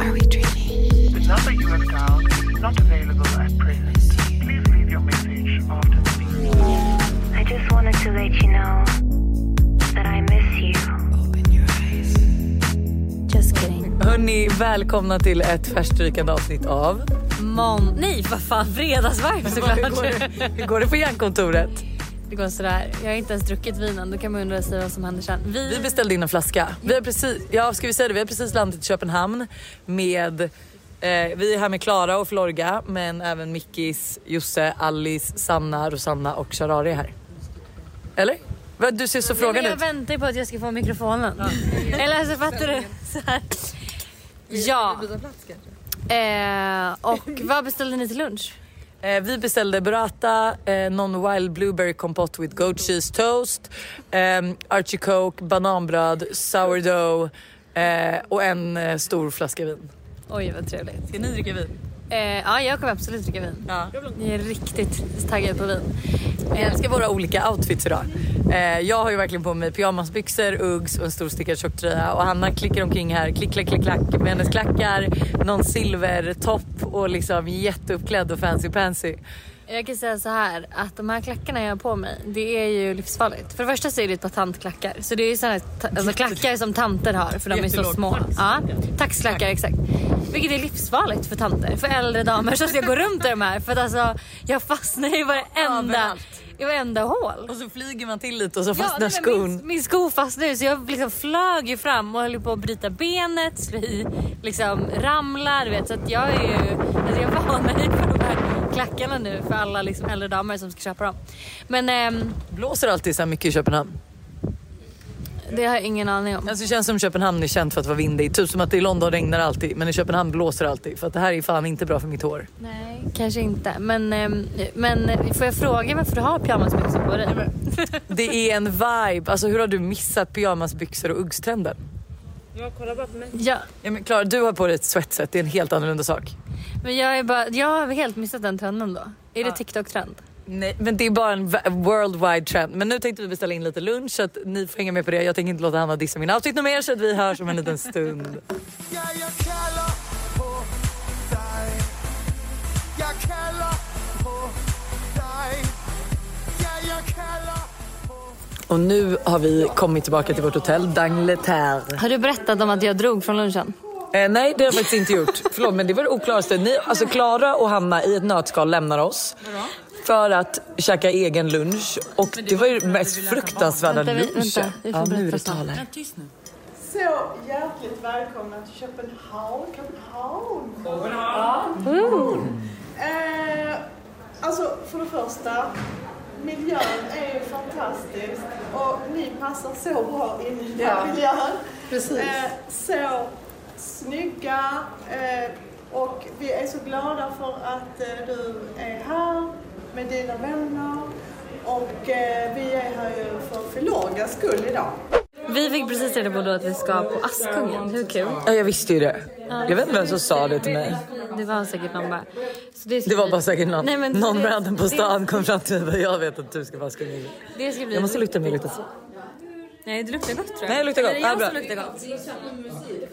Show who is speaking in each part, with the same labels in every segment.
Speaker 1: Are we dreaming?
Speaker 2: The number you have dialed is not available at present. Please leave your message after the beep.
Speaker 3: I just wanted to let you know that I miss you.
Speaker 1: Open your eyes.
Speaker 3: Just kidding.
Speaker 4: Hörni, välkomna till ett färskstrykande avsnitt av...
Speaker 5: Mån... Nej vad fan, fredagsvarv såklart.
Speaker 4: Hur går det på järnkontoret?
Speaker 5: Det går sådär. Jag har inte ens druckit vinen. Då kan man undra sig vad som händer sen. Vi...
Speaker 4: Vi beställde in en flaska. Vi har precis, ja, ska vi säga det? Vi har precis landat i Köpenhamn med... Eh, vi är här med Klara och Florga, men även Mickis, Josse, Alice, Sanna, Rosanna och Charari är här. Eller? Va, Du ser så
Speaker 5: Nej,
Speaker 4: frågande
Speaker 5: men
Speaker 4: ut.
Speaker 5: jag väntar ju på att jag ska få mikrofonen. Eller så fattar du? Så här. Ja. Eh, och vad beställde ni till lunch?
Speaker 4: Eh, vi beställde burrata, eh, non-wild blueberry kompott with goat cheese toast, eh, Archie Coke, bananbröd, sourdough eh, och en eh, stor flaska vin.
Speaker 5: Oj vad trevligt.
Speaker 4: Ska ni dricka vin?
Speaker 5: Eh, ja jag kommer absolut dricka vin.
Speaker 4: Ja.
Speaker 5: Ni är riktigt taggade på vin.
Speaker 4: Jag älskar våra olika outfits idag. Eh, jag har ju verkligen på mig pyjamasbyxor, Uggs och en stor stickad tjocktröja. Och Hanna klickar omkring här, klick, klack, klack, klack med hennes klackar, någon silvertopp och liksom jätteuppklädd och fancy pansy.
Speaker 5: Jag kan säga så här att de här klackarna jag har på mig, det är ju livsfarligt. För det första så är det ett par tantklackar. Så det är ju såna här ta- alltså klackar som tanter har för de är så
Speaker 4: Jättelåg
Speaker 5: små.
Speaker 4: tax.
Speaker 5: Ja, taxklackar exakt. Vilket är livsfarligt för tanter, för äldre damer som ska gå runt i de här. För att alltså jag fastnar i varenda,
Speaker 4: Överallt.
Speaker 5: i varenda hål.
Speaker 4: Och så flyger man till lite och så
Speaker 5: Ja,
Speaker 4: fastnar
Speaker 5: nej, men
Speaker 4: skon.
Speaker 5: Min, min sko fastnade ju, så jag liksom flög ju fram och höll på att bryta benet, slå i, liksom ramlar. Du vet. Så att jag är ju, alltså jag varnar ju för de här klackarna nu för alla liksom äldre damer som ska köpa dem. Men ehm,
Speaker 4: Blåser alltid så här mycket i Köpenhamn?
Speaker 5: det har jag ingen aning om.
Speaker 4: Alltså det känns som Köpenhamn är känt för att vara vindig. Typ som att det i London regnar alltid men i Köpenhamn blåser alltid. För att det här är fan inte bra för mitt hår.
Speaker 5: Nej, kanske inte. Men, ehm, men får jag fråga varför du har pyjamasbyxor på dig?
Speaker 4: Det är en vibe. Alltså hur har du missat pyjamasbyxor och Uggstrenden?
Speaker 5: Ja,
Speaker 4: Ja, men Klara, du har på dig ett sweatset. Det är en helt annorlunda sak.
Speaker 5: men jag, är bara, jag har helt missat den trenden då. Är det TikTok-trend?
Speaker 4: Nej, men det är bara en va- worldwide trend. Men nu tänkte vi beställa in lite lunch så att ni får hänga med på det. Jag tänker inte låta Hanna dissa min outfit något mer så att vi hörs om en liten stund.
Speaker 6: Ja, jag kallar på dig Jag kallar på dig Ja, jag kallar
Speaker 4: Och nu har vi kommit tillbaka till vårt hotell Dangleterre.
Speaker 5: Har du berättat om att jag drog från lunchen?
Speaker 4: Eh, nej, det har jag faktiskt inte gjort. Förlåt, men det var det oklaraste. Ni, alltså Klara och Hanna i ett nötskal lämnar oss. För att käka egen lunch. Och det var ju den mest fruktansvärda
Speaker 5: Vänta, vi-
Speaker 4: lunchen.
Speaker 5: vänta. Vi får
Speaker 4: ja, nu är
Speaker 5: berätta
Speaker 4: det
Speaker 5: sen.
Speaker 4: tal här.
Speaker 2: Så hjärtligt välkomna till Köpenhamn. Köpenhamn. Eh, alltså, för det första, miljön är ju fantastisk och ni passar så bra in i den här miljön. Precis. Eh, så snygga eh, och vi är så glada för att eh, du är här med dina vänner och eh, vi är här ju för Filorgas skull idag.
Speaker 5: Vi fick precis reda på då att vi ska på Askungen. Hur kul?
Speaker 4: Ja, jag visste ju det. Jag vet inte vem som sa det till mig.
Speaker 5: Det var säkert någon bara. Så det, ska
Speaker 4: Det var
Speaker 5: bli-
Speaker 4: bara säkert någon,
Speaker 5: Nej, men
Speaker 4: någon
Speaker 5: det-
Speaker 4: random på
Speaker 5: det-
Speaker 4: stan kom fram till mig och bara, jag vet att du ska vara skummig.
Speaker 5: Det ska bli...
Speaker 4: Jag måste lukta mig lite.
Speaker 5: Nej, det luktar gott tror jag.
Speaker 4: Nej, det luktar gott.
Speaker 5: Eller jag
Speaker 4: Ja, bra.
Speaker 5: som luktar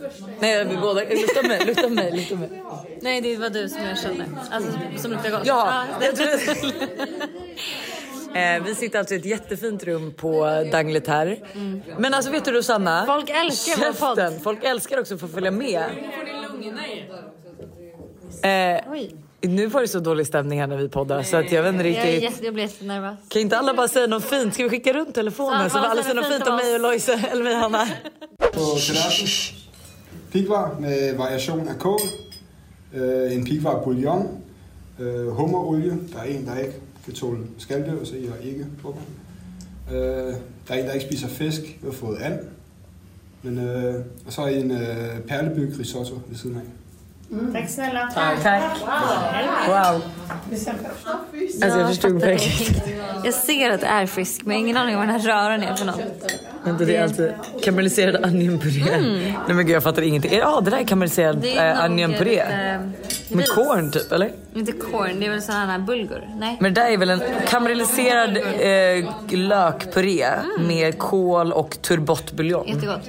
Speaker 5: gott.
Speaker 4: Nej, vi båda. Lukta mig, lukta mig, lukta mig.
Speaker 5: Nej, det var du som jag kände. Alltså som luktar gott.
Speaker 4: Ja,
Speaker 5: det-
Speaker 4: jag Eh, vi sitter alltså i ett jättefint rum på Danglet här. Men alltså vet du Rosanna?
Speaker 5: Folk älskar vår podd.
Speaker 4: Käften. Folk älskar också att få följa med. Eh,
Speaker 5: Oj.
Speaker 4: nu var det så dålig stämning här när vi poddar så att jag vet inte
Speaker 5: Jag, är
Speaker 4: riktigt.
Speaker 5: jätte, jag blir jättenervös.
Speaker 4: Kan inte alla bara säga något fint? Ska vi skicka runt telefonen
Speaker 5: Ja,
Speaker 4: så får alla säger något fint om mig och Loise eller mig och Hanna?
Speaker 7: på salaten. Pigvar med variation af kål. Øh, en pigvar bouillon. Øh, hummerolie. Der er en, der ikke kan tåle skaldyr, så jeg ikke hummer. Øh, der er en, der ikke spiser fisk. Jeg har fået and. Men, øh, og så en øh, perlebyg risotto ved siden af.
Speaker 2: Tack snälla.
Speaker 4: Tack. Wow. Alltså jag förstod verkligen inte.
Speaker 5: Jag ser att det är fisk men jag har ingen aning om vad den här röran är för något.
Speaker 4: Vänta, det är alltså karamelliserad onionpuré. Nej men gud jag fattar ingenting. Ja det där är karamelliserad
Speaker 5: Mm. Det är
Speaker 4: eh,
Speaker 5: nog
Speaker 4: onionpuré.
Speaker 5: lite
Speaker 4: Med
Speaker 5: ris.
Speaker 4: korn typ eller?
Speaker 5: Inte corn, det är väl sådana här bulgur? Nej.
Speaker 4: Men det där är väl en karamelliserad eh, lökpuré med kål och turbottbuljong.
Speaker 5: Jättegott.